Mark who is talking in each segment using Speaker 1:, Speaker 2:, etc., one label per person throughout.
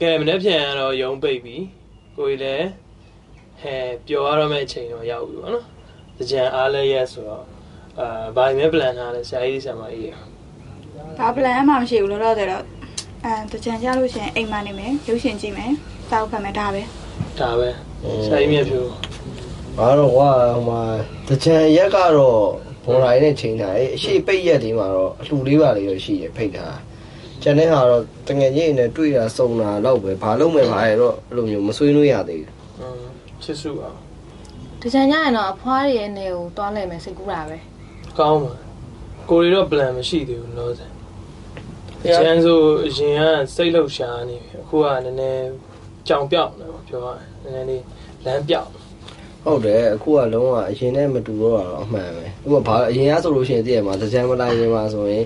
Speaker 1: ကဲမနေ့ပြန်ကတော့ရုံးပိတ်ပြီကိုကြီးလည်းဟဲပျော်ရတော့မယ့်အချိန်တော့ရောက်ပြီပေါ့နော်တကြံအားလဲရက်ဆိုတော့အာဘာမှမ plan ထားလဲဆရာကြီးဆရာမကြီးရ
Speaker 2: ဘာ plan မှမရှိဘူးလို့တော့တယ်တော့အဲတကြံကြလို့ရှရင်အိမ်မနေမယ်ရုပ်ရှင်ကြည့်မယ်စာအုပ်ဖတ်မယ်ဒါပဲ
Speaker 1: ဒါပဲဆရာကြီးမြတ်ဖြူ
Speaker 3: ဘာတော့ကွာဟိုမှာတချံရက်ကတော့ဘော်ရိုင်းနဲ့ချိန်တာလေအရှိပိတ်ရက်ဒီမှာတော့အလှူလေးပါလေးရရှိရဖိတ်တာကျန်တဲ့ဟာတော့တငယ်ချင်းတွေနဲ့တွေ့တာစုံတာတော့ပဲဘာလုံးမဲ့ပါရတော့အဲ့လိုမျိုးမဆွေးနွေးရသေးဘူး
Speaker 1: อืมချစ်စုအောင်
Speaker 4: တကြံရရင်တော့အဖွားတွေရဲ့နေကိုတွားလိုက်မယ်စိတ်ကူးတာပဲ
Speaker 1: ကောင်းပါကိုကြီးတော့ plan မရှိသေးဘူးလို့ဆိုတကြံဆိုအရင်ကစိတ်လှုပ်ရှားနေပြီအခုကနည်းနည်းကြောင်ပြောက်နေပါပြောရရင်နည်းနည်းလေးလမ်းပြောက်
Speaker 3: ဟုတ်တယ်အခုကလုံးဝအရင်နဲ့မတူတော့တာတော့အမှန်ပဲဥပမာဘာအရင်ကဆိုလို့ရှိရင်တည့်ရမှာတချံမလိုက်ရင်မှာဆိုရင်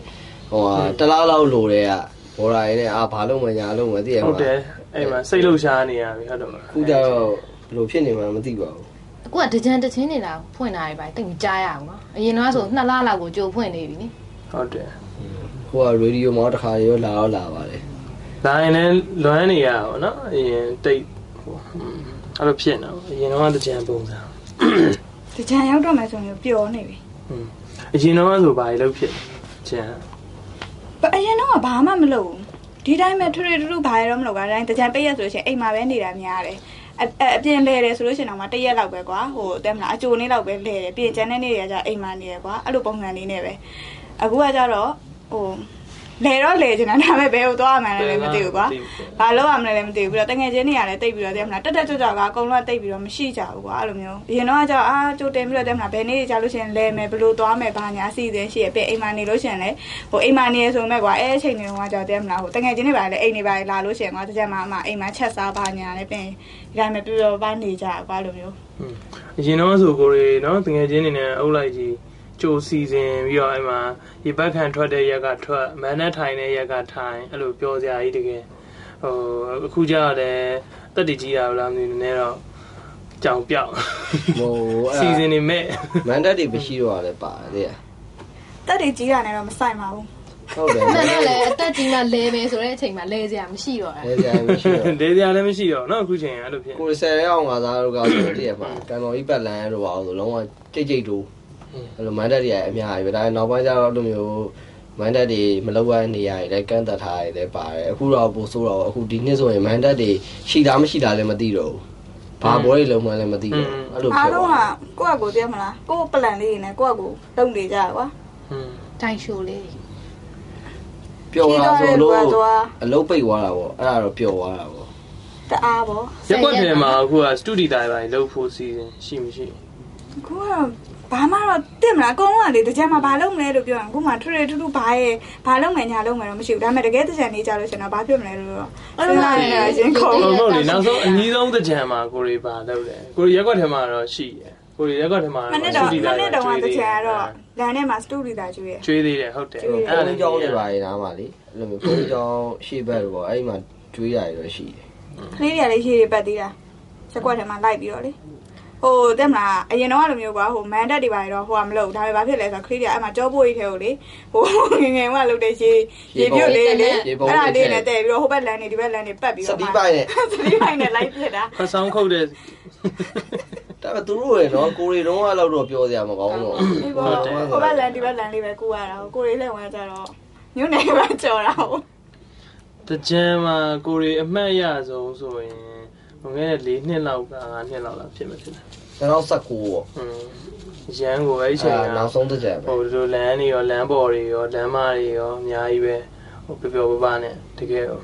Speaker 3: ဟိုဟာတစ်လားလောက်လိုတဲ့ကဘော်ရိုင်းနဲ့အာဘာလုံးမဲ့ညာလုံးမဲ့တည့်ရမှာ
Speaker 1: ဟုတ်တယ်အဲ့မှာစိတ်လှုပ်ရှားနေရပြီဟုတ်တော့
Speaker 3: ခုကျတော့ဘယ်လိုဖြစ်နေမှန်းမသိပါဘူး
Speaker 4: အခုကတကြံတချင်းနေတာကိုဖွင့်တာတွေပါတိတ်မကြားရဘူးနော်အရင်တော့ဆိုနှစ်လလောက်ကိုကြိုဖွင့်နေပြီနိ
Speaker 1: ဟုတ်တယ်
Speaker 3: ဟိုကရေဒီယိုမောင်းတစ်ခါရောလာတော့လာပါတယ်
Speaker 1: ဒါရင်လည်းလွမ်းနေရပါတော့နော်အရင်တိတ်ဟိုอืมအဲ့လိုဖြစ်နေတော့အရင်တော့တကြံပုံစံ
Speaker 2: တကြံရောက်တော့မယ်ဆိုရင်ပျော်နေပြီ
Speaker 1: အရင်တော့ဆိုဘာတွေလုပ်ဖြစ်ကျန်
Speaker 2: ဘာအရင်တော့ဘာမှမလုပ်ဘူးဒီတိုင်းပဲထွေထွေတူတူဘာရတော့မလုပ်ဘူးအတိုင်းတကြံပိတ်ရက်ဆိုလို့ရှရင်အိမ်မှာပဲနေတာများတယ်အအအပြင်လဲတယ်ဆိုလို့ရှရင်တော့မှတစ်ရက်လောက်ပဲကွာဟိုတဲ့မလားအကြိုနေ့လောက်ပဲလဲတယ်ပြင်ကျန်တဲ့နေ့တွေကကြာအိမ်မှာနေရကွာအဲ့လိုပုံစံလေးနဲ့ပဲအခုကကြတော့ဟိုလဲတော့လဲချင်တာ ဒါပေမဲ့ဘယ်ကိုသွားရမှန်းလည်းမသိဘူးကွာ ဘာလို့ရမလဲလည်းမသိဘူးပြီးတော့တငယ်ချင်းတွေကလည်းတိတ်ပြီးတော့တဲ့မလားတက်တက်ကြွကြွကအကုန်လုံးကတိတ်ပြီးတော့မရှိကြဘူးကွာအဲ့လိုမျိုးအရင်တော့ကကြောက်အာကြိုတင်ပြီးတော့တဲ့မလားဘယ်နေ့ကြာလို့ရှိရင်လဲမယ်ဘယ်လိုသွားမယ်ဘာညာအစီအစဉ်ရှိရပဲအိမ်မှာနေလို့ရှိရင်လည်းဟိုအိမ်မှာနေရဆိုမဲ့ကွာအဲအချိန်တွေတော့ကကြောက်တဲ့မလားဟိုတငယ်ချင်းတွေပါလေအိမ်တွေပါလေလာလို့ရှိရင်ကွာတကြက်မှာအမအိမ်မှာချက်စားဘာညာလည်းပြင်ဒီတိုင်းပဲပြပြပါနေကြကွာလိုမျိုး
Speaker 1: အရင်တော့ဆိုကိုရီနော်တငယ်ချင်းတွေနဲ့အုပ်လိုက်ကြီးကြိုစီစဉ်ပြီးတော့အဲ့မှာရေပတ်ခံထွက်တဲ့ရက်ကထွက်မန်းနဲ့ထိုင်တဲ့ရက်ကထိုင်အဲ့လိုပြောစရာကြီးတကယ်ဟိုအခုကျတော့လည်းတက်တည်ကြီးရအောင်လားမသိဘူးနည်းတော့ကြောင်ပြောက်
Speaker 3: ဟို
Speaker 1: စီ
Speaker 3: အဲ့
Speaker 1: စဉ်
Speaker 3: ဒါ
Speaker 1: နေ မဲ့
Speaker 3: မန်ဒတ်တွေမရှိတော့လည်းပါတယ်တဲ့
Speaker 2: တက်တွေကြီးတာနဲ့တော့မဆိုင်ပါဘူး
Speaker 3: ဟုတ်တယ်
Speaker 4: မှန်တော့လေအသက်ကြီးမှလဲမယ်ဆိုတဲ့အချိန်မှလဲစရာမရှိတော့တာ
Speaker 3: လဲကြမ်းမရှိတော့
Speaker 1: ဒေသလည်းမရှိတော့နော်အခုချိန်ကအဲ့လိုဖြစ်
Speaker 3: ကိုယ်ဆယ်ရောက်ငါသားတို့ကဆိုတည့်ရပါကံတော်ကြီးပတ်လန်းတို့ပါအောင်ဆိုလုံးဝကြိတ်ကြိတ်တို့အဲ့လိုမန်ဒတ်တွေအများကြီးပဲဒါနောက်ပိုင်းကျတော့အဲ့လိုမျိုးမန်ဒတ်တွေမလောက်ရနေရတယ်လည်းကန့်သက်ထားရတယ်လည်းပါတယ်အခုတော့ပိုဆိုးတော့အခုဒီနှစ်ဆိုရင်မန်ဒတ်တွေရှိတာမရှိတာလည်းမသိတော့ဘူးဘာပွဲတွေလုံးဝလည်းမသိတော့အဲ့လို
Speaker 2: အား
Speaker 3: ဖြစ်
Speaker 2: လုံးကကိုယ့်အကိုတဲ့မလားကိုယ့်ပလန်လေးတွေနဲ့ကိုယ့်အကိုလုံနေကြကွာ
Speaker 1: อืม
Speaker 4: တိုင်ရှိုးလေး
Speaker 3: ပျော်လာဆိုလို့
Speaker 2: ကသွား
Speaker 3: အလုပ်ပိတ်သွားတာပေါ့အဲ့ဒါတော့ပျော်သွားတာပေါ့
Speaker 2: တအားပေါ့
Speaker 1: ရက်ွက်ထဲမှာအခုကစတူဒီတိုင်းပိုင်းလှုပ်ဖို့စီစဉ်ရှိမရှိ
Speaker 2: ကိုကဘာမှတော့တင်မလားအကုန်လုံးကလေတကြံမှာဘာလုပ်မလဲလို့ပြောရင်ကိုမှထွေထွေထူးထူးဘာရဲ့ဘာလုပ်မယ်ညာလုပ်မယ်တော့မရှိဘူးဒါပေမဲ့တကယ်တကြံနေကြလို့ရှင်တော့ဘာဖြစ်မလဲလို့တော့စဉ်းစားနေတာရှင်
Speaker 1: ်
Speaker 2: ခေါ်
Speaker 1: ဟုတ်ဟုတ်လေနောက်ဆုံးအကြီးဆုံးသကြံမှာကိုရီပါလောက်တယ်ကိုရီရက်ကွက်ထဲမှာတော့ရှိတယ်ကိုရီရက်ကွက်ထဲမှာ
Speaker 2: မနေ့တော့မနေ့တော့ကတ
Speaker 1: ကျွေး
Speaker 2: ကြံကတော့လမ်းထဲမှာစတူဒီတာကျွေးရ
Speaker 1: ကျွေးသေးတယ်ဟုတ်တယ်
Speaker 2: ကျွေး
Speaker 3: ဘု
Speaker 2: သေးတယ်
Speaker 3: န်းကြောင်းတွေပါနေတာမှာလေအဲ့လိုမျိုးဘုန်းကြောင်းရှေ့ဘက်တွေပေါ့အဲ့ဒီမှာကျွေးရတယ်တော့ရှိတယ်
Speaker 2: ကလေးတွေကလည်းရေတွေပတ်သေးတာရက်ကွက်ထဲမှာလိုက်ပြီးတော့လေဟိုတက်မလားအရင်တော့ကလိုမျိုးကွာဟိုမန်တက်တွေပါတော့ဟိုကမလုပ်ဒါပေမဲ့ဘာဖြစ်လဲဆိုတော့ကလေးတွေကအဲ့မှာကြောပိုးကြီးထဲကိုလေဟိုငငယ်ကလုပ်တဲ့ရေရေပြုတ်လေးလေအဲ့ဒါလေးနဲ့တဲ့ပြီးတော့ဟိုဘက်လမ်းနေဒီဘက်လမ်းနေပတ်ပြီး
Speaker 3: စ
Speaker 2: တော့
Speaker 3: ပီးပိုင်နဲ့
Speaker 2: စပီးပိုင်းနဲ့လိုက်ဖြစ်တာ
Speaker 1: ဖတ်ဆောင်ခုတ်တဲ့
Speaker 3: ဒါပေမဲ့သူတို့ရယ်နော်ကိုရီတုံးကတော့တော့ပြောစရာမကောင်းတော့ဘူး
Speaker 2: ဒီဘောဟိုဘက်လန်ဒီဘက်လန်လေးပဲကူရတာကိုကိုလေးလည်းဝင်ကြတော့ညနေမှာကြော်တာဟို
Speaker 1: သကြံမှာကိုရီအမှတ်ရဆုံးဆိုရင်ငွေလေးနှစ်လောက်ကငါနှစ်လောက်လာဖြစ်မဖြစ်လဲ
Speaker 3: 2019ပေါ့
Speaker 1: อืมရန်ကိုအဲ့ချိန်
Speaker 3: အဲ့
Speaker 1: က
Speaker 3: နောက်ဆုံးတစ်ချက်ပဲ
Speaker 1: ဟိုလိုလမ်းတွေရောလမ်းပေါ်တွေရောလမ်းမတွေရောအများကြီးပဲဟိုပျော်ပျော်ပါးပါးနဲ့တကယ်ဟို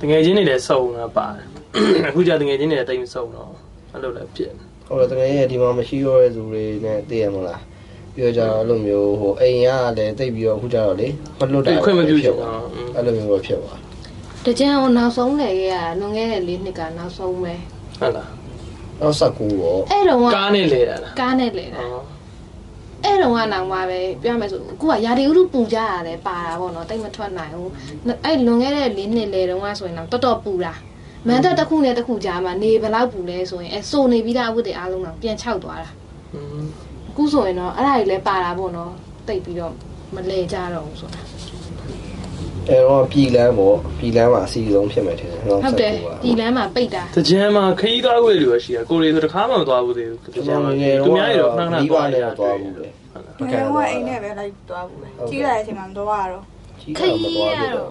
Speaker 1: တကယ်ချင်းတွေလည်းစုံတာပါတယ် အခုကျတကယ်ချင်းတွေလည်းတိတ်မစုံတော့ဘူးအဲ့လိုလည်းဖြစ်
Speaker 3: ဟုတ်တယ်တကယ်ရဒီမှာမရှိတော့တဲ့သူတွေနဲ့သိရမလားပြတောကြတော့အဲ့လိုမျိုးဟိုအိမ်ရလည်းတိတ်ပြီးတော့အခုကျတော့လေမလွတ်တာ
Speaker 1: ခွင့်မပြုချင်
Speaker 3: ဘူး
Speaker 1: တာ
Speaker 3: အဲ့လိုမျိုးတော့ဖြစ်သွား
Speaker 4: တကြံကိုနောက်ဆုံးလဲခဲ့ရတာလွန်ခဲ့တဲ့၄နှစ်ကနောက်ဆုံးပဲ
Speaker 1: ဟုတ်လား
Speaker 3: နောက်19ပေါ့
Speaker 4: အဲ့တုန်းက
Speaker 1: ကားနဲ့လဲတာလား
Speaker 4: ကားနဲ့လဲတာ
Speaker 1: အော်
Speaker 4: အဲ့တော့ကနောင်မှာပဲပြောရမယ်ဆိုအခုကရာဒီဥရုပူကြရတယ်ပါတာပေါ့နော်တိတ်မထွက်နိုင်ဘူးနအဲ့လွန်ခဲ့တဲ့၄နှစ်လေတုန်းကဆိုရင်တော့တော်တော်ပူတာမန်တက်တစ်ခုနဲ့တစ်ခုကြားမှာနေဘယ်လောက်ပူလဲဆိုရင်အဲစိုနေပြီးသားအဝတ်တွေအားလုံးတော့ပြန်ခြောက်သွားတာ
Speaker 1: อืม
Speaker 4: အခုဆိုရင်တော့အဲ့ဒါကြီးလည်းပါတာပေါ့နော်တိတ်ပြီးတော့မလဲကြတော့ဘူးဆိုတာ
Speaker 3: အဲတော့ပြည်လန်းပေါ့ပြည်လန်းမှာအစီအဆုံးဖြစ်မယ်ထင်တယ်
Speaker 4: ဟုတ်တယ်
Speaker 3: ပါ
Speaker 4: ဒီလမ်းမှာပိတ်တာ
Speaker 1: တကြံမှာခရီးသွားခွေတွေရှိရကိုရီဆိုတခါမှမသွားဘူးသေးဘူးတကြံမှာသူများတွေတော့နှောက်နှောက်သွားတယ်
Speaker 3: သွားဘူးလေ
Speaker 2: ငယ်တော့ကအိမ်နဲ့ပဲလိုက်သွားဘူးပဲကြီးလာတဲ့အချိန်မှာမသွားရတော့
Speaker 3: ကြီးတော့မသွားဘူးတော့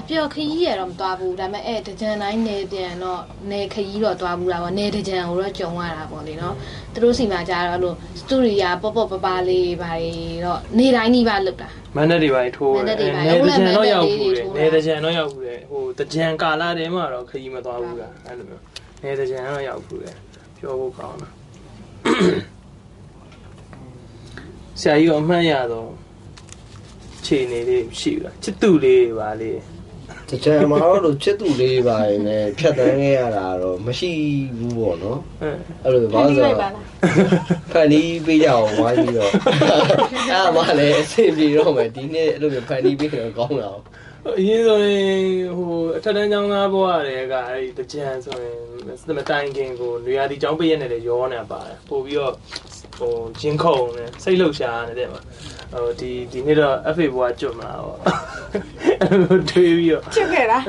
Speaker 4: အပျော်ခရီးရတော့မသွားဘူးဒါပေမဲ့အဲတကြံတိုင်းနေပြန်တော့နေခရီးတော့သွားဘူးတာပေါ့နေတကြံကိုတော့ကြုံရတာပေါ့လေနော်သူတို့စီမှာကြတော့အဲ့လိုစတူဒီယာပေါ့ပေါ့ပပလေးပါလေတော့နေတိုင်းနှီးပါလောက်တာ
Speaker 1: မန္တလေးပိုင်းထိုးတယ်နေတကြံတော့ရောက်ဘူးတယ်နေတကြံတော့ရောက်ဘူးတယ်ဟိုတကြံကာလာတဲမှာတော့ခရီးမသွားဘူးလားအဲ့လိုမျိုးနေတကြံတော့ရောက်ဘူးတယ်ပြောဖို့ကောင်းတာဆရာကြီးကအမှန်ရတော့ခြေနေလေးရှိဘူးလားချစ်သူလေးပါလေ
Speaker 3: တကြံမှာတော့ချစ်သူလေးပါရင်လည်းဖြတ်တန်းခဲ့ရတာတော့မရှိဘူးပေါ့နော်
Speaker 1: အဲ
Speaker 3: အဲ့လို
Speaker 2: ဖြ
Speaker 3: ဘာ
Speaker 2: န်
Speaker 3: လို့
Speaker 2: ပြီးလို
Speaker 3: လဲ
Speaker 2: က်ပါလား
Speaker 3: ဖန်ပြီးပေးကြအောင်ဝိုင်းပြီး တော့အဲ့မှလည်းအဆင်ပြေတော့မယ်ဒီနေ့အဲ့လိုမျိုးဖန်ပြီးပေးတော့ကောင်းတာ
Speaker 1: အရင်ဆိုရင်ဟိုအထက်တန်းကျောင်းသားဘဝတွေကအဲ့ဒီတကြံဆိုရင်မတိုင်ခင်ကိုနေရာဒီကျောင်းပြည့်ရက်နဲ့လည်းရောနေပါတယ်ပို့ပြီးတော့ဟိုဂျင်းခုံနဲ့စိတ်လှုပ်ရှားနေတဲ့မှာဟိုဒီဒီနေ့တော့ FA ဘဝကျွတ်မှာပေါ့အဲ့လိုတွေးပြီးတော့
Speaker 2: ချစ်ခဲ့လား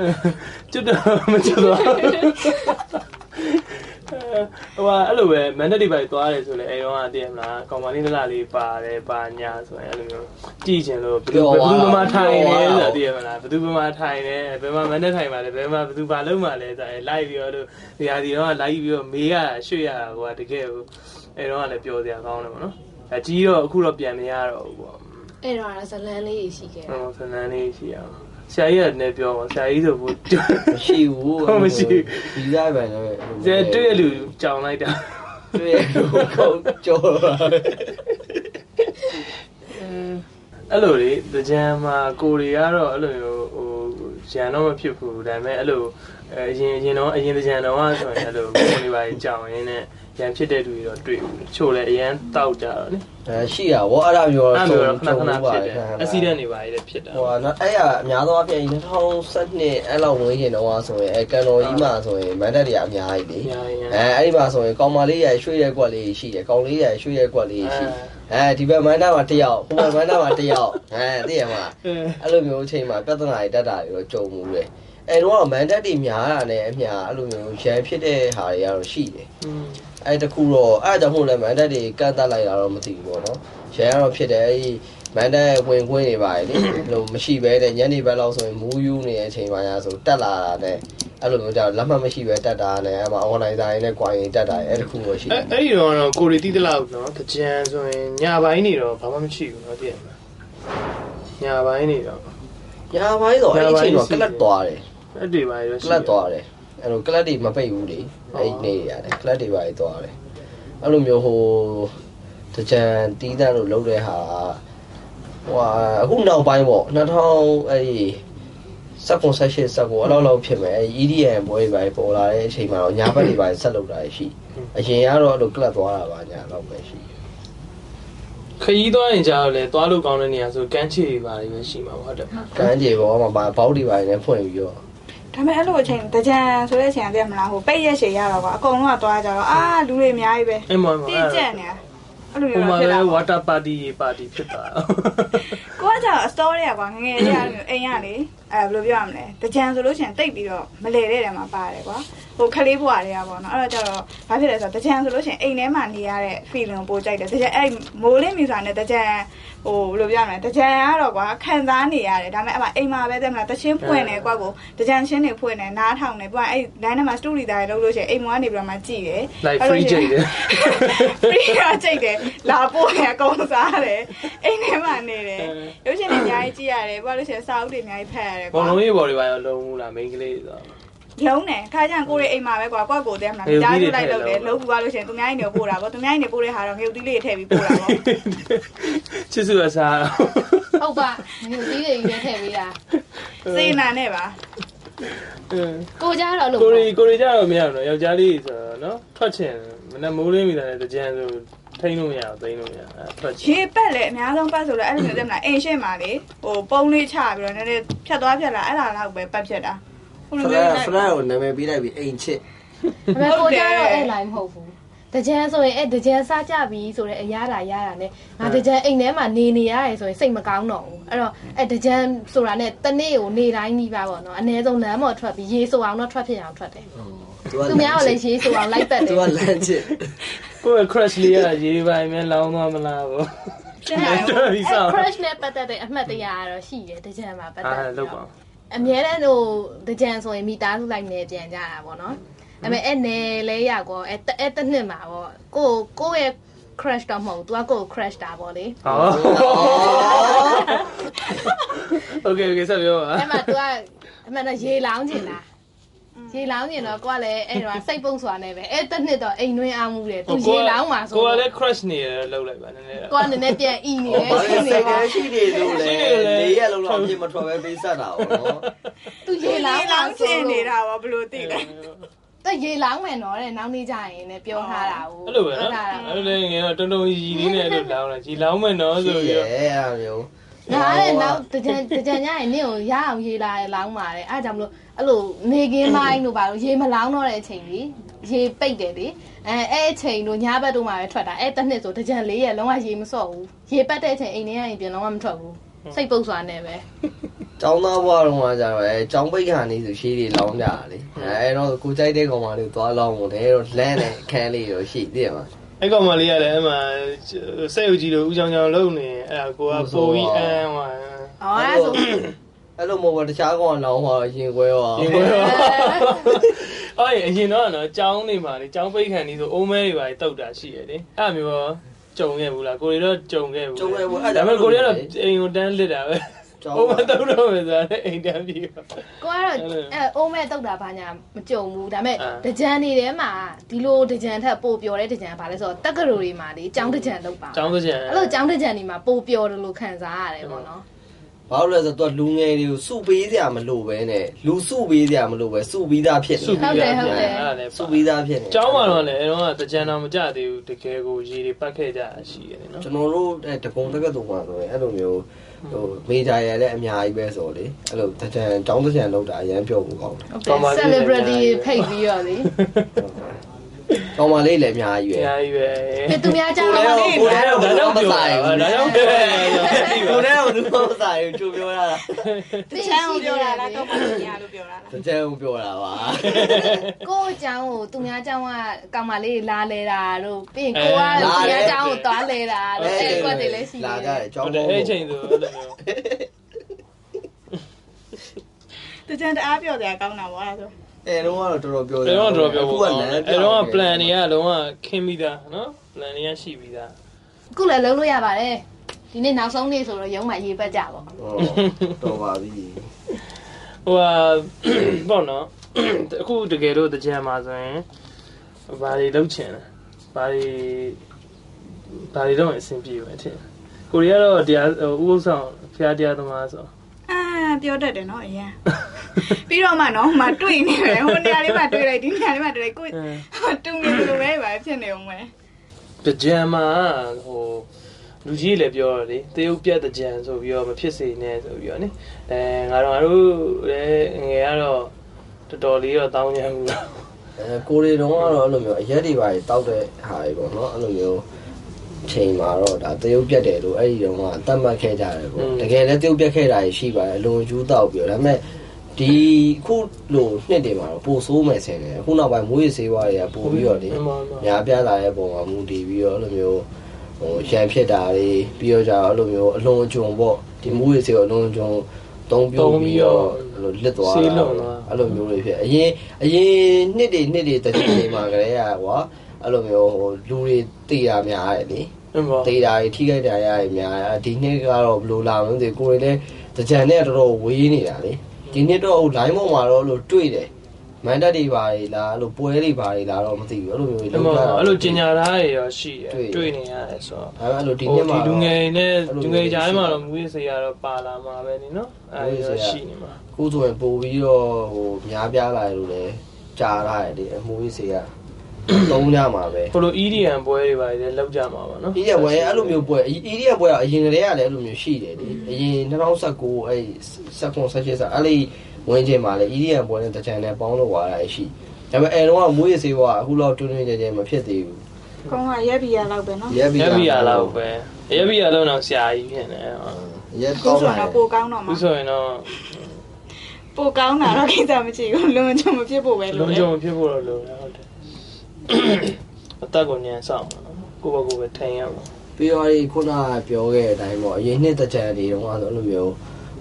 Speaker 1: ကျွတ်တော့မကျွတ်တော့ဟိုကအဲ့လိုပဲမန်ဒက်ဒီဘိုက်သွားတယ်ဆိုလဲအဲတော့ကတည်းမလားကောင်မလေးလလလေးပါတယ်ပါညာဆိုရင်အဲ့လိုမျိုးကြည့်ချင်လို့ဘယ်သူဘယ်သူမှထိုင်နေဆိုတာတည်းမလားဘယ်သူမှထိုင်နေဘယ်မှမန်ဒက်ထိုင်ပါလဲဘယ်မှဘယ်သူပါလုံးပါလဲဆိုရင်လိုက်ပြီးတော့လို့နေရာဒီတော့လိုက်ပြီးတော့မေးရရွှေ့ရတာဟိုကတကယ်ဟိုအဲတော့ကလည်းပြောစရာကောင်းတယ်ပေါ့နော်အကြီးတော့အခုတော့ပြန်မရတော့ဘူးပေါ့
Speaker 4: အဲ့တော့ကဇလန်းလေးရှိခဲ့
Speaker 1: ဟုတ်ဆန္ဒလေးရှိရအောင်ဆရာကြီးကလည်းပြောပါဆရာကြီးဆိုဘူးတွေ့
Speaker 3: မရှိဘူးဒီစားပဲတော့
Speaker 1: ဆရာတွေ့ရလူကြောင်လိုက်တာ
Speaker 3: တွေ့ကောင်းကြော
Speaker 1: အဲ့လိုလေတကြံမှာကိုရီကတော့အဲ့လိုမျိုးဟိုရန်တော့မဖြစ်ဘူးဒါပေမဲ့အဲ့လိုအဲအရင်အရင်တော့အရင်တကြံတော့ဆိုရင်အဲ့လိုကိုရီပါကြီးကြောင်ရင်းနဲ့ရန်ဖြစ်တဲ့လူတွေတော့တွေ့ဘူးချို့လည်းအရန်တောက်ကြတော့လေ
Speaker 3: အဲရှိရဗောအဲ့ဒါမျိုး
Speaker 1: အဲ့လိုမျိုးတော့ခဏခဏဖြစ်တယ်အက်ဆီဒန့်တွေပါလေဖြစ်တာ
Speaker 3: ဟိုကနော်အဲ့ရအများသောအပြင်2012အဲ့လောက်ဝင်ရင်တော့ဆိုရင်အဲကန်တော်ကြီးမှာဆိုရင်မန်တက်တွေကအများကြီးလေ
Speaker 1: အများကြီး
Speaker 3: အဲအဲ့ဒီမှာဆိုရင်ကောင်မလေးရယ်ရွှေရက်ကွက်လေးရှိတယ်ကောင်လေးရယ်ရွှေရက်ကွက်လေးရှိအဲဒီဘက်မန္တမှာတစ်ယောက်ဟိုဘက်မန္တမှာတစ်ယော က်အဲသိရမလား
Speaker 1: အဲ
Speaker 3: အဲ့လိုမျိုးအချိန်မှာပြဿနာတွေတက်တာတွေတော့ကြုံမှုတယ်အဲတော့မန်တက်တွေများတာနဲ့အမျှအဲ့လိုမျိုးရန်ဖြစ်တဲ့ဟာတွေကတော့ရှိတယ်အဲတခုတော့အဲ့ဒါကြောင့်မို့လဲမန်တက်တွေကန့်တက်လိုက်တာတော့မသိဘူးပေါ့နော်ရန်ကတော့ဖြစ်တယ်အဲ့ဒီမန်တက်ဝင်ခွင့်တွေပါလေလို့မရှိပဲတဲ့ညနေဘက်လောက်ဆိုရင်မူးယူနေတဲ့အချိန်မှာညာဆိုတက်လာတာနဲ့အဲ့လိုမျိုးကြောင့်လက်မှတ်မရှိပဲတက်တာနဲ့အဲ့မှာ online ဆိုင်နဲ့ quality တက်တာအဲ့တခုတော့ရှိတ
Speaker 1: အဲ
Speaker 3: ယ်
Speaker 1: အဲ့ဒီတော့တော့ကိုရီတိတလောက်နော်တကြံဆိုရင်ညပိုင်းနေတော့ဘာမှမရှိဘူးနော်တည့်ရမှာညပိုင်းနေတော့
Speaker 3: ညာဘိုင်းဆိုအဲ့ဒီအချိန်တော့ကလပ်သွားတယ်
Speaker 1: အဲ့ဒီပိုင်းရော
Speaker 3: က
Speaker 1: ရှိ
Speaker 3: လပ်သွားတယ်အဲ့လိုကလပ်တွေမပိတ်ဘူးလေအဲ့ဒီနေ့ရတယ်ကလပ်တွေပါကြီးသွားတယ်အဲ့လိုမျိုးဟိုတကြံတီးတန်းလို့လုပ်တဲ့ဟာဟိုဟာအခုနောက်ပိုင်းပေါ့2000အဲ့ဒီစက်ကွန်ဆက်ရှစ်စက်ကွန်အဲ့လောက်လောက်ဖြစ်မယ်အဲ့ဒီ EDM ဘွဲတွေပါကြီးပေါ်လာတဲ့အချိန်မှာတော့ညာဘက်တွေပါကြီးဆက်လုပ်တာရှိအရင်ကတော့အဲ့လိုကလပ်သွားတာပါညာတော့ပဲရှိ
Speaker 1: ခရီးသွားရင်ကြာတော့လေသွားလို့ကောင်းတဲ့နေရာဆိုကမ်းခြေတွေပါလေပဲရှိမှာပေါ့ဟုတ်တယ်မလား
Speaker 3: ကန်းကြေပေါ်မှာဘာဘောက်တွေပါကြီးနဲ့ဖွင့်ပြီးတော့
Speaker 2: ဒါပေမဲ့အဲ့လိုအချိန်တကြံဆိုတဲ့အချိန်ကတည်းကမလားဟိုပိတ်ရက်ရှည်ရတော့ကွာအကုန်လုံးကသွားကြတော့အာလူတွေအများကြီးပဲ
Speaker 1: အဲ့မှာမှာ
Speaker 2: တိ
Speaker 1: အဲ့
Speaker 2: ကျနေတာအဲ့လို
Speaker 1: ဟို
Speaker 2: မျိုး
Speaker 1: မှာ
Speaker 2: တော့ဖြစ်
Speaker 1: လဲ
Speaker 2: လာပေါ့
Speaker 1: water party ပါတီဖြစ်တာ
Speaker 2: ကိုကကြောင့် story ရကွာငငယ်လေးရတယ်အိမ်ရလေအဲဘယ်လိုပြောရမလဲတကြံဆိုလို့ရှိရင်တိတ်ပြီးတော့မလဲတဲ့တဲမှာပါတယ်ကွာဟိုခလေးဘွားတွေကပေါ့နော်အဲ့တော့ကျတော့ဘာဖြစ်လဲဆိုတော့တကြံဆိုလို့ရှိရင်အိမ်ထဲမှာနေရတဲ့ feeling ကိုပိုကြိုက်တယ်တကြံအဲ့မိုးလေးမြူစာနဲ့တကြံဟိုဘယ်လိုပြောရမလဲတကြံကတော့ကွာခံစားနေရတယ်ဒါပေမဲ့အမအိမ်မှာပဲတဲ့မလားတချင်းဖွင့်နေကွာကိုတကြံချင်းတွေဖွင့်နေနားထောင်နေပွားအဲ့လမ်းထဲမှာ story တာတွေလုပ်လို့ရှိရင်အိမ်မောကနေပြီးတော့မှကြည့်တယ်
Speaker 1: like free jay တယ်
Speaker 2: free ရကြိုက်တယ်လာပို့ရအကုန်စားတယ်အိမ်ထဲမှာနေတယ်ရုပ်ရှင်တွေအများကြီးကြည့်ရတယ်ဘာလို့လဲဆိုရင်စာအုပ်တွေအများကြီးဖတ်ရတယ်
Speaker 1: ဘော
Speaker 2: ကွာ
Speaker 1: လုံးကြီးဘော်တွေပါရောလုံးဘူးလား main ကလေးဆိုတော့
Speaker 2: လုံးတယ်ခါကျရင်ကိုယ့်ရဲ့အိမ်မှာပဲကွာကွာကိုယ်တည်းမ
Speaker 1: င
Speaker 2: လား
Speaker 1: ရုတ်
Speaker 2: မိ
Speaker 1: သီး
Speaker 2: သား
Speaker 1: တွေ
Speaker 2: စု
Speaker 1: ထ
Speaker 2: လိုက်
Speaker 1: ည့်လုံး
Speaker 2: လုပ်တယ်လုံးဘူးဘာလို့လဲဆိုရင်သူများကြီးနေကိုပို့တာပေါ့သူများကြီးနေပို့တဲ့ဟာတော့ငရုတ်သီးလေးတွေထည့်ပြီးပို့တာပေါ့
Speaker 1: ချစ်စုအစား
Speaker 4: ဟုတ်ပါငွေသေးတယ်ကြီးနဲ့ထည့်ပေးတာ
Speaker 2: စေနာနဲ့ပါ
Speaker 1: အင်း
Speaker 4: ကိုကြတော့လို့
Speaker 1: ကိုရီကိုရီကြတော့မရဘူးနော်ယောက်ျားလေးဆိုတော့နော်ထွက်ချင်မနဲ့မိုးလေးမိတာနဲ့တကြံဆိုထိန်းလို့မရဘူးသိမ်းလို့မရဘူးအဲ့ထွက်ချင်
Speaker 2: ရေပက်လေအများဆုံးပတ်ဆိုတော့အဲ့လိုမျိုးတည်းမလားအိမ်ရှင်းမှာလေဟိုပုံလေးချပြီးတော့နည်းနည်းဖြတ်သွားဖြတ်လာအဲ့ဒါလောက်ပဲပတ်ဖြတ်တာဟို
Speaker 3: ဖ
Speaker 2: လို
Speaker 3: လာ
Speaker 2: မျိုးလိုက်
Speaker 3: ဖလာကိုနာမည်ပေးလိုက်ပြီးအိမ်ချစ်
Speaker 4: ဒါပေမဲ့ကိုကြတော့အဲ့လိုင်းမဟုတ်ဘူးတ တကြံဆိုရင်အဲ့တကြံစားကြပြီဆိုတဲ့အရာတာရတာ ਨੇ ငါတကြံအိမ်ထဲမှာနေနေရတယ်ဆိုရင်စိတ်မကောင်းတော့ဘူးအဲ့တော့အဲ့တကြံဆိုတာ ਨੇ တနေ့ကိုနေတိုင်းနှီးပါပေါ့နော်အ ਨੇ ဆုံးလမ်းပေါ်ထွက်ပြီးရေဆိုအောင်တော့ထွက်ဖြစ်အောင်ထွက်တယ်သူများကလည်းရေဆိုအောင်လိုက်ပတ်တယ်
Speaker 3: သူကလမ်းချစ်
Speaker 1: ကိုယ့် crush လေးကရေးပါရင်လောင်းသွားမလားဗော
Speaker 4: အဲ့ဒါကို
Speaker 1: ဒီစား
Speaker 4: အဲ့ crush နဲ့ပတ်သက်တဲ့အမှတ်တရကတော့ရှိတယ်တကြံမှာပတ်
Speaker 1: အာ
Speaker 4: သက်ပြီး
Speaker 1: လောက်
Speaker 4: တော့
Speaker 1: ပါဦး
Speaker 4: အမြဲတမ်းဟိုတကြံဆိုရင်မိသားစုလိုက်နေပြန်ကြတာပေါ့နော်ဒါပေမဲ့အဲ့နယ်လဲရောက်ကောအဲ့တအဲ့တစ်နှစ်မှာပေါ့ကိုကိုယ့်ရဲ့ crush တော့မဟုတ်ဘူး तू ကကိုယ့်ကို crush တာပေါ့လေ
Speaker 1: ဟော Okay okay ဆက်ပြောပါ
Speaker 4: အဲ့မှာ तू ကအမှန်တော့ရေလောင်းနေတာ ရေလောင်းနေတော့ကိုကလည်းအဲ့တော့စိတ်ပုံစွာနဲ့ပဲအဲ့တစ်နှစ်တော့အိမ်တွင်းအောင်မှုတယ် तू ရေလောင်းမှာဆို
Speaker 1: ကိုက
Speaker 4: ကိုကလ
Speaker 1: လည်း ည်း crush နေရလောက်လိုက်ပါနည်းနည်း
Speaker 4: ကိုကနည်းနည်းပြန်ဤနေတယ်
Speaker 3: ဘာ
Speaker 4: ရှိ
Speaker 3: လဲ
Speaker 4: နေ
Speaker 3: စိတ်က
Speaker 4: တော့
Speaker 3: ရှိနေလို့လေနေရလုံးတော့အပြင်မထွက်ပဲပေးဆက်တာပေါ့နော်
Speaker 4: तू ရေလောင်း
Speaker 2: လော
Speaker 4: လော
Speaker 2: င်း
Speaker 4: င်း
Speaker 2: ဖြ
Speaker 4: ဖြစ် င်
Speaker 2: နေ
Speaker 4: နေတာ တာ
Speaker 2: ပါဘယ်လိုသိလဲ
Speaker 4: သူရေလောင်းမယ်နော်တဲ့နောက်နေ့ကျရင်လည်းပြောထားတာဟုတ်
Speaker 1: အဲ့လိုပဲနော်အဲ့လိုလည်းငယ်တော့တုံတုံကြီးလေးနဲ့အဲ့လိုလောင်းလာကြီးလောင်းမယ်နော်ဆိုပြီး
Speaker 3: ရဲ့
Speaker 1: တော့
Speaker 3: အဲ့ဒါမျိုး
Speaker 4: ငါလည်းနောက်တကြံတကြံညရင်နင့်ကိုရအောင်ရေးလာရလောင်းပါတယ်အဲ့ဒါကြောင့်မလို့အဲ့လိုနေကင်းမိုင်းတို့ပါလို့ရေမလောင်းတော့တဲ့အချိန်ကြီးရေပိတ်တယ်လေအဲအဲ့အချိန်တို့ညဘက်တို့မှပဲထွက်တာအဲ့တစ်နှစ်ဆိုတကြံလေးရက်လုံးဝရေမစော့ဘူးရေပတ်တဲ့အချိန်အိမ်ထဲကနေပြန်လုံးဝမထွက်ဘူးစိတ်ပုတ်စွာနဲ့ပဲ
Speaker 3: ကျောင်းသားဘွားတော့ကကြတော့အဲကျောင်းပိတ်ခါနေဆိုရှေးတွေလောင်းကြတာလေအဲတော့ကိုကြိုက်တဲ့ကောင်မလေးကိုသွားလောင်းဖို့တယ်တော့လမ်းနဲ့အခန်းလေးရောရှိတယ်မှာ
Speaker 1: အဲ့ကောင်မလေးကလည်းအမှစိတ်အုပ်ကြီးလို့ဦးချောင်းချောင်းလုံနေအဲ့ဒါကိုကပိုပြီးအမ်းဟွာ
Speaker 4: အော်အဲ့ဒါဆို
Speaker 3: အဲ့လိုမဟုတ်ပါတခြားကောင်ကလောင်းသွားတော့ရင်ခွဲရော
Speaker 1: ရင်ကိုရောအော်အရင်တော့နော်ចောင်းနေမှာလေចောင်းပိတ်ခံနေဆိုအိုးမဲတွေပါတောက်တာရှိရတယ်လေအဲ့မျိုးရောကြုံခဲ့ဘူးလားကိုရီတော့ကြုံခဲ့ဘူးဒါပေမဲ့ကိုရီကတော့အိမ်ကိုတန်းလစ်တာပဲ
Speaker 3: ကျောင်း
Speaker 1: အိုးမ
Speaker 3: သား
Speaker 1: တောက်တော့ပဲဆိုတာအိမ်တန်းပြီးတော့
Speaker 4: ကိုကတော့အဲအိုးမဲ့တုတ်တာဘာညာမကြုံဘူးဒါပေမဲ့
Speaker 1: အာ
Speaker 4: တကြံနေထဲမှာဒီလိုတကြံထက်ပိုပျော်တဲ့တကြံဘာလဲဆိုတော့တက္ကသိုလ်တွေမှာလေចောင်းတကြံလောက်ပါ
Speaker 1: ចောင်းစကြံ
Speaker 4: အဲ့လိုចောင်းတကြံတွေမှာပိုပျော်တယ်လို့ခံစားရတယ်ပေါ့နော်
Speaker 3: ဘာလို့လဲဆိုတော့သူကလူငယ်တွေကိုစုပေးစရာမလိုပဲနဲ့လူစုပေးစရာမလိုပဲစုပြီးသားဖြစ်
Speaker 1: စု
Speaker 3: နေ
Speaker 1: ပြီးရတယ်
Speaker 4: ဟုတ်တယ်ဟုတ်တယ်
Speaker 1: လည်း
Speaker 3: စုပြီးသားဖြစ်နေ
Speaker 1: ចောင်းမှာတော့လည်းအဲ့တော့ကစကြံတော့မကြသေးဘူးတကယ်ကိုရေတွေပတ်ခဲ့ကြတာရှိရတယ်နော်
Speaker 3: ကျွန်တော်တို့အဲတကုံတက္ကသိုလ်မှာဆိုရင်အဲ့လိုမျိုးဟိုမေဂျာရယ်လည်းအများကြီးပဲဆိုလေအဲ့လိုတကြံတောင်းတကြံလောက်တာအရန်ပြောဖို့ကောင်းတယ်
Speaker 4: ဟုတ်တ
Speaker 1: တော်
Speaker 4: ယ်
Speaker 1: ပါပြီ
Speaker 4: celebrity ဖိတ်ပြီးတော့လေ
Speaker 3: ကောင်းမလေးလည်းအများကြီးပဲ
Speaker 1: အားကြီးပဲ
Speaker 4: ပြည်သူများကြောင့်ပါလေ
Speaker 3: ကိုယ်လည်းကိုယ်လည်းမဆိုင်
Speaker 1: ဒါ
Speaker 3: ဘူး
Speaker 1: ကြောင့်ပြောရတာ
Speaker 3: ကိုယ်လည်းကိုယ်လည်းမဆိုင်ဘူးချိုးပြောရ
Speaker 2: တ
Speaker 3: တာ
Speaker 2: ချမ်းကိုပြောတာလားတော့မမြင်ရလို့ပြောတာလား
Speaker 3: တကြံကိုပြောတာပါ
Speaker 4: ကိုယ့်အကြောင်းကိုသူများအကြောင်းကကောင်မလေးလာလဲတာတို့ပြီးရင်
Speaker 1: အဲ
Speaker 4: ကိုကသူ
Speaker 3: လာလဲ
Speaker 4: များအကြောင်းကိုသွားလဲတာတို့အဲ့ဒီကွက်တွေလည်းရှိတ
Speaker 3: လာကြတယ်
Speaker 4: ယ်
Speaker 3: ကျော
Speaker 1: ဟု
Speaker 3: င်း
Speaker 1: တ်တ
Speaker 3: ပေါ်
Speaker 1: ယ်အဲ့
Speaker 3: ကို
Speaker 1: ချိန်ဆိုအဲ့လိုမျိုး
Speaker 2: တချမ်းတအားပြောစရာကောင်းတာပေါ့အဲ့ဒါဆို
Speaker 3: အဲတော့ကတော့တော်တော်
Speaker 1: အဲ့
Speaker 3: ပြော
Speaker 1: တော့တော့ပြောဖို့
Speaker 3: က
Speaker 1: ကောင်းတ
Speaker 3: လ
Speaker 1: ယ်
Speaker 3: မ်း
Speaker 1: အဲ့တော့ plan တွေကလုံးဝခင်းပြီးသားနော် plan တွေကရှိပြီးသား
Speaker 4: အခုလည်းလုံးလို့ရပါတယ်ဒီနေ့နောက်ဆုံးနေ့ဆိုတော့ရုံးမှရေးပတ်ကြပါဘော
Speaker 3: တော်ပါပြီ
Speaker 1: ဟိုဟာ ပေါ့နော် အခုတကယ်လို့တကြံမှာဆိုရင်ဘာတွေလုပ်ချင်လဲဘာတွေဘာတွေတော့အဆင်ပြေပဲထင်ကိုရီးယားတော့တရားဥပုသ်ဆောင်ဖျားတရားသမားဆို
Speaker 2: အာပြောတတ်တယ်နော်အရင် ပြီးတော့မှနော်ဟိုမှာတွေ့နေတယ်ဟိုနေရာလေးမှာတွေ့လိုက်ဒီနေရာလေးမှာတွေ့လိုက်ကိုတူနေလို့ပဲပါဖြစ်နေအောင်ပဲ
Speaker 1: တကြံမှာဟိုလူကြီးလည်းပြောတယ်လေတရုတ်ပြတ်တကြံဆိုပြီးတော့မဖြစ်စေနဲ့ဆိုပြီးတော့နိအဲငါတို့ငါတို့လည်းငယ်ကတော့တော်တော်လေးတော့တောင်းကြမှုလား
Speaker 3: အဲကိုရီတော့ကတော့အဲ့လိုမျိုးအရက်တွေပါတောက်တဲ့ဟာတွေပေါ့နော်အဲ့လိုမျိုးချိန်မှာတော့ဒါတရုတ်ပြတ်တယ်လို့အဲ့ဒီတော့ကတတ်မှတ်ခဲ့ကြတယ်
Speaker 1: อื
Speaker 3: ပေါ့
Speaker 1: ม
Speaker 3: တကယ်လည်းတရုတ်ပြတ်ခဲ့တာရှိပါတယ်အလွန်ယူတောက်ပြီးတော့ဒါပေမဲ့ဒီခုလိုနှစ်တွေမှာတော့ပိုဆိုးမယ်ဆင်တယ်အခုနောက်ပိုင်းမွေးရေးဆေးဝါးတွေကပိုပြီးတော့လေ
Speaker 1: မှန်ပါ
Speaker 3: ညာပြလာတဲ့ပုံမှာမူတည်ပြီးတော့အဲ့လိုမျိုးဟိုရန်ဖြစ်တာတွေပြီးတော့ကြတော့အဲ့လိုမျိုးအလွန်အကျွံပေါ့ဒီမူရေးစေကိုအလွန်အကျွံသုံးပြုတ်ပြီးတော့အဲ့လိုလစ်သွား
Speaker 1: ဆေး
Speaker 3: တာ
Speaker 1: လုံးသွား
Speaker 3: အဲ့လိုမျိုးတွေဖြစ်အရင်အရင်နှစ်တွေနှစ်တွေတစ်ချိန်တွေမှာကလေးရကွာအဲ့လိုမျိုးဟိုလူတွေတေးတာများတယ်လေ
Speaker 1: မှန်ပါ
Speaker 3: တေးတာတွေထိခိုက်တာရတွေများတယ်ဒီနှစ်ကတော့ဘယ်လိုလာမလဲမသိဘူးကိုယ်တွေလည်းတကြံနဲ့တော်တော်ဝေးနေတာလေဒီနှစ်တော့ဟို line ပေါ်မှာတော့အဲ့လိုတွေ့တယ်မန်တက်တွေပါလေလားအဲ့လိုပွဲတွေပါလေလားတော့မသိဘူးအဲ့လိုမျိုးတွေ
Speaker 1: အဲ့
Speaker 3: လုပ်
Speaker 1: မှာ
Speaker 3: ကြတာ
Speaker 1: အဲ့လိုကျင်ညာသားတွေရောရှိတယ်
Speaker 3: တွေ့
Speaker 1: တွေ့နေရတယ်ဆိုတော့
Speaker 3: အဲ့လိုဒီ
Speaker 1: ဟို
Speaker 3: နေ့မှာ
Speaker 1: ဒီလူငယ်တွေနဲ့
Speaker 3: အဲ့လို
Speaker 1: လူငယ်ကြားထဲမှာတော့မူရစေရတော့ပါလာမှာပဲနိနော်အဲ့ဒီတော့ရှိနေမှာ
Speaker 3: ခုဆိုရင်ပို့ပြီးတော့ဟိုများပြားလာတယ်လို့လည်းကြားရတယ်လေအမွေးစေကသုံးညမှာပဲ
Speaker 1: ဟိုလို EDM ပွဲတွေပါလေလောက်ကြမှာပါနော်
Speaker 3: ဒီရက်ပွဲအဲ့လိုမျိုးပွဲအီဒီရက်ပွဲကအရင်ကတည်းကလည်းအဲ့လိုမျိုးရှိတယ်လေအရင်2019အဲ့16 17ဆိုအဲ့လေဝင်ချိန်မှာလည်းအီဒီရက်ပွဲနဲ့တချန်နဲ့ပေါင်းလို့ဝါတာရှိဒါပေမဲ့အဲတော့ကမွေးစေကအခုလောက်တွင်းတွင်းကြဲကြဲမဖြစ်သေးဘူး
Speaker 2: ကောင်းကရက်ပြီးရလောက်ပဲနော်
Speaker 3: ရက်ပြီး
Speaker 1: ရက်ဗီယာလောက်ပဲရက်ဗီယာလောက်တော့ဆရာကြီးဖြစ်နေဟုတ်
Speaker 3: ရက်
Speaker 2: ခု
Speaker 3: ကောင်း
Speaker 2: ဆို
Speaker 3: ပါ
Speaker 2: တော့
Speaker 3: လား
Speaker 2: ပိုကောင်းတော့မှာ
Speaker 1: ခုဆိုရင်တော့
Speaker 2: ပိုကောင်းတာတော့ကိစ္စမရှိဘူးလုံချုံမဖြစ် ဖို့ပဲလို့
Speaker 1: လုံးကြုံဖြစ်ဖို့တော့လိုတယ်ဟုတ်တယ်အတက်ကိုညံဆောင်ပါကိုယ့်ဘက်ကိုယ်ပဲထိုင်ရမှာ
Speaker 3: ပြီးတော့ဒီခုနကပြောခဲ့တဲ့အတိုင်းပေါ့အရင်နှစ်တစ်ကြံတွေတုန်းကဆိုအဲ့လိုမျိုး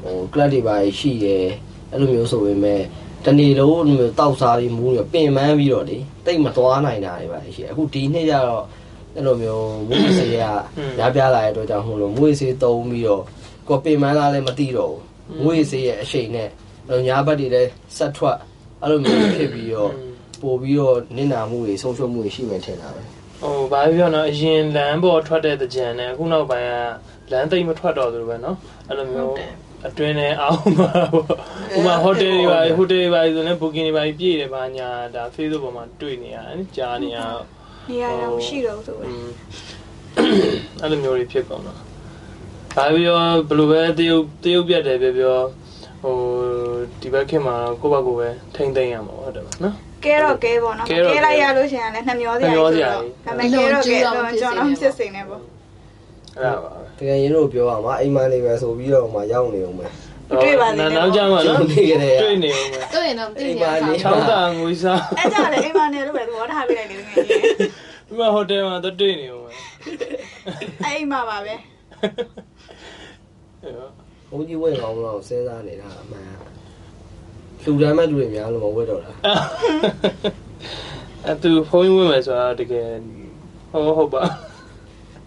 Speaker 3: ဟိုကလပ်တွေပါရှိတယ်အဲ့လိုမျိုးဆိုပေမဲ့တနေ့လုံးအဲ့လိုမျိုးတောက်စားပြီးမူးပြီးပင်ပန်းပြီးတော့လေတိတ်မသွားနိုင်တာတွေပါရှိတယ်အခုဒီနှစ်ကျတော့အဲ့လိုမျိုးမူးစေးရရပြားလာတဲ့အတွက်ကြောင့်ဟိုလိုမူးစေးတုံးပြီးတော့ကိုယ်ပင်ပန်းလာလည်းမသိတော့ဘူးမူးစေးရဲ့အရှိန်နဲ့အဲ့လိုညာဘက်တွေလည်းဆက်ထွက်အဲ့လိုမျိုးဖြစ်ပြီးတော့ပို့ပြီးတော့နစ်နာမှုတွေဆုံးရှုံးမှုတွေရှိမှထင်တာပဲ
Speaker 1: ဟိုဘာပဲပြောတော့အရင်လမ်းပေါ်ထွက်တဲ့ကြံနဲ့အခုနောက်ပိုင်းကလမ်းသိမ့်မထွက်တော့သလိုပဲเนาะအဲ့လိုမျိုးအတွင်းနဲ့အောက်မှာပေါ့ဥပမာဟိုတယ်တွေပါဟိုတယ်တွေပါဆိုလည်း booking တွေပါပြည့်တယ်ပါညာဒါ Facebook ပေါ်မှာတွေ့နေရတယ်ကြားနေရတော့
Speaker 2: နေရာတော့မရှိတော့ဘူးဆိုပဲ
Speaker 1: อืม အဲ့လိုမျိုးတွေဖြစ်ကုန်တာဒါပြီးတော့ဘယ်လိုပဲတရုတ်တရုတ်ပြတ်တယ်ပြောပြောဟိုဒီဘက်ခင်မှာကိုယ့်ဘက်ကိုယ်ပဲထိမ့်သိမ့်ရမှာပေါ့ဟုတ်တယ်ပါနော်
Speaker 2: ကဲတော့ကဲပေါ့နော်
Speaker 1: ကဲတော့
Speaker 2: ကဲလိုက်ရလို့ရှိရင်လည်းနှမျောစရာကြီးဆိုတော့
Speaker 1: နှမျော
Speaker 2: ဒါပေမဲ့ကဲ
Speaker 4: စရာ
Speaker 2: တော့ကဲတော့
Speaker 4: ကြီး
Speaker 2: ကျွန်တော်ဖြစ်စိန်နေပေါ့
Speaker 1: အဲ့ဒါပါပဲ
Speaker 3: တကယ်ရင်းတို့ပြောရမှာအိမ်မနေပဲဆိုပြီးတော့မှရောက်နေအောင်ပဲ
Speaker 2: တွေ့ပါသေးတယ်
Speaker 1: နောက်ကြမှာနော်
Speaker 3: နေကြတယ်
Speaker 1: တွေ့နေအောင်ပဲ
Speaker 4: တွေ့ရင်တော့တွေ့နေရတာ
Speaker 1: ချောင်းတာငွေစား
Speaker 2: အဲ့ကြလေအိမ်မနေလို့ပဲသဘောထားပေးလိုက် တယ်ငယ်ကြီး
Speaker 1: ဒီမှာဟိုတယ်မှာတော့တွေ့နေအောင်ပဲ
Speaker 2: အဲ့အိမ်မှာပါပဲ
Speaker 1: အဲ့တော့
Speaker 3: ဘုန်းကြီးဝဲကောင်းတော့စဉ်းစားနေတာအမှန်လူတိုင်းမဲ့လူတွေများလို့မဝဲတော့တာ
Speaker 1: အဲ့ သူဖုန်းဝင်မယ်ဆိုတော့တကယ်ဟောဟုတ်ပါ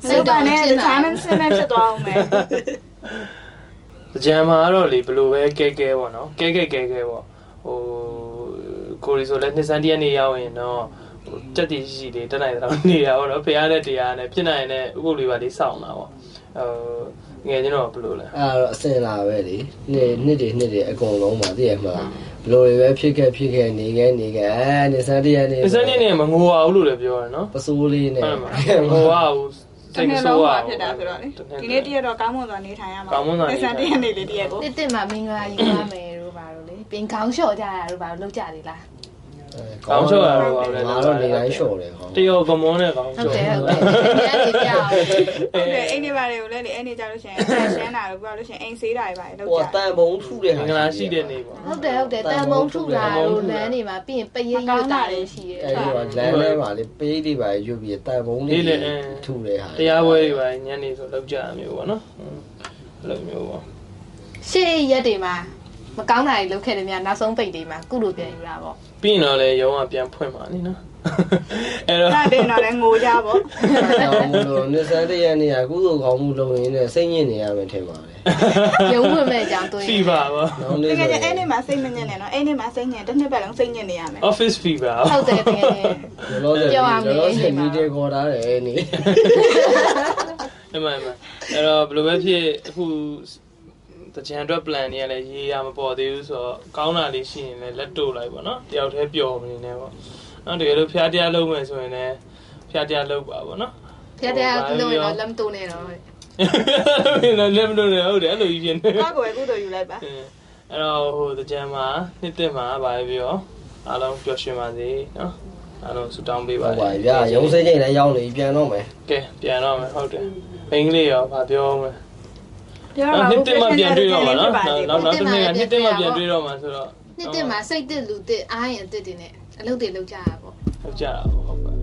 Speaker 2: စိတ်ပါနဲ့ဒီတိုင်းနဲ့ဆက်နဲ့ဖြစ်သွားအောင်မယ်
Speaker 1: ကြံမှာကတော့လေဘယ်လိုပဲကဲကဲပေါ့နော်ကဲကဲကဲကဲပေါ့ ဟိုကိုရီဆိုလည်းနှစ်စန်းတရက်နေရောက်ရင်တော့ဟိုတက်တည်ရှိရှိလေးတက်နိုင်တော့နေရပါတော့ဖရားနဲ့တရားနဲ့ဖြစ်နိုင်တဲ့ဥပုပ်လေးပါလေးစောင့်တာပေါ့ဟိုငယ်ချင်းတော့ဘယ်လိုလဲ
Speaker 3: အဲ့ဒါတော့အစင်လာပဲလေနှစ်နှစ်တွေနှစ်တွေအကုန်လုံးပါသိရမှာဘလို့တွေပဲဖြစ်ခဲ့ဖြစ်ခဲ့နေခဲ့နေခဲ့အဲနေစတရနေ
Speaker 1: နှစ်စန်းတရက်နဲ့မငိုရဘူးလို့လည်းပြောရတယ်နော်
Speaker 3: ပစိုးလေးနဲ့
Speaker 1: အဲ့မှာငိုရဘူး
Speaker 2: တ
Speaker 1: စိတ်မ
Speaker 2: ကယ်
Speaker 1: ဆိုးရ
Speaker 2: လို့ပါ
Speaker 1: ဘူး
Speaker 2: ဖြစ်တာဆိုတော့လေဒီနေ့တရက်တော့ကောင်းမွန်စွာနေထိုင်ရမှာစံတရက်နေလေတရက်ကို
Speaker 4: တစ်တစ်မှာမင်္ဂလာယူရမယ်တို့ပါလို့လေပင်ကောင်းလျှော့ကြရတို့ပါလို့လောက်ကြလေလား
Speaker 3: ငါတော့နေတိုင်းလျှော်တယ်ခေါင်း
Speaker 1: တရောကမွန်နဲ့ကောင်း
Speaker 4: ဟု
Speaker 1: ကျော်
Speaker 4: တ်တယ်ဟုတ်တယ်ဒီကနေပြအောင်
Speaker 2: ဟုတ်တယ်အိမ်တွေပါတွေကိုလည်းလေအဲ့နေကြလို့ရှိရင်ဆန်ရှင်းတာလို့ပြောလို့ရှိရင်အိမ်ဆေးတာတွေပါလေလောက်
Speaker 3: ဟို
Speaker 2: ကြ
Speaker 3: တန်ပုံထုတဲ့
Speaker 1: မင်္ဂလာရှိတဲ့နေ့ပေါ့
Speaker 4: ဟုတ်တယ်ဟုတ်တယ်တန်မုံထုလာတို့လမ်းနေမှာပြီးရင်ပရင်ရတာလည်းရှိတယ်
Speaker 3: အဲ့ဒီကလမ်းထဲမှာလေပေးတွေပါရွတ်ပြီးတန်ပုံလေးထုတဲ့ဟာ
Speaker 1: တရားပွဲတွေပါညနေဆိုလောက်ကြရမျိုးပေါ့နော်အဲ့လိုမျိုးပေါ့
Speaker 4: ရှေ့ရက်တွေမှာမကောင်းတာတွေလုပ်ခဲ့တယ်များနောက်ဆုံးပိတ်တွေမှာကုလိုပြန်ယူတာပေါ့
Speaker 1: ပြီးရင်တော့လေရုံးကပြန်ဖွင့်ပါနေနော်အဲ့တော့
Speaker 2: ဒါတင်တော့လည်းငိုကြပေါ့
Speaker 3: တော့မလို့နေစတဲ့ရနေရကုသိုလ်ကောင်းမှုလုပ်ရင်းနဲ့စိတ်ညစ်နေရမယ်ထင်ပါတယ်
Speaker 4: ရုံးဝင်မဲ့အကြောင်းတွေ့ရ
Speaker 1: fever ပါ
Speaker 3: ။နောက်
Speaker 2: တ
Speaker 3: နေ့
Speaker 2: က
Speaker 3: ဆို
Speaker 2: ယ်
Speaker 3: ရ
Speaker 2: ကြ
Speaker 3: င်
Speaker 2: အဲ့နေမှာစိတ်မညစ်နဲ့နော်အဲ့နေမှာစိတ်ညစ်တစ်နှစ်ပတ်လုံးစိတ်ညစ်နေရမယ်
Speaker 1: office fever ပါ
Speaker 4: ဟုတ်တယ်တကယ်တယ်
Speaker 3: လောလောဆယ်
Speaker 4: ပြောရမယ်
Speaker 3: လောလောဆယ်မီဒီယာခေါ်ထားတယ်အဲ့နေ
Speaker 1: အမှန်အမှန်အဲ့တော့ဘယ်လိုပဲဖြစ်အခုတကြံအတွက် plan တွေကလည်းရေးရမပေါ်သေးဘူးဆိုတော့ကောင်းတာလေးရှိရင်လည်းလက်တို့လိုက်ပါနော်တယောက်တည်းပျော်မနေနဲ့ပေါ့နော်တကယ်လို့ဖျားတရားလုံးမယ်ဆိုရင်လည်းဖျားတရားလုံးပါပေါ့နော်
Speaker 4: ဖျက်တဲ့ကုလိုရင်တော့လမ်းတူနေတော့
Speaker 1: အဲ့တော့လည်းမလို့လည်းဟုတ်တယ်အဲ့လိုကြီးဖြစ်နေ
Speaker 2: ကောက်ကိုပဲကုသိုလ်ယူလိုက်ပါ
Speaker 1: အင်းအဲ့တော့ဟိုတကြံမှာနှစ်သက်မှာဗာပဲပြောအားလုံးပျော်ရွှင်ပါစေနော်အားလုံးဆုတောင်းပေးပါ
Speaker 3: ဟုတ်
Speaker 1: စေ
Speaker 3: ပါဗျာရုံးစိတ်ချိန်လည်းရောက်နေပြီပြန်တော့မယ်
Speaker 1: ကဲပြန်တော့မယ်ဟုတ်တယ်အင်္ဂလိပ်ရောဗာပြောမယ်
Speaker 2: ပြော
Speaker 1: နောက်
Speaker 2: ပါ
Speaker 1: နှစ်
Speaker 2: ဦး
Speaker 1: သက်မှာပြန်တွေ့တော့မှာနော်
Speaker 2: နော
Speaker 1: နောက်
Speaker 2: က်
Speaker 1: နော
Speaker 2: နောက်
Speaker 1: က်တစ်နေ့ကနှစ်သက်မှာပြန်တွေ့တော့မှာဆိုတော့
Speaker 4: နှစ်တက်မှာစိတ်တက်လူတက်အားရင်အတက်တင်နဲ့အလုပ်တွေလုပ်ကြတာပေါ့
Speaker 1: ဟုတ်ကြတာပေါ့ဟုတ်ပါ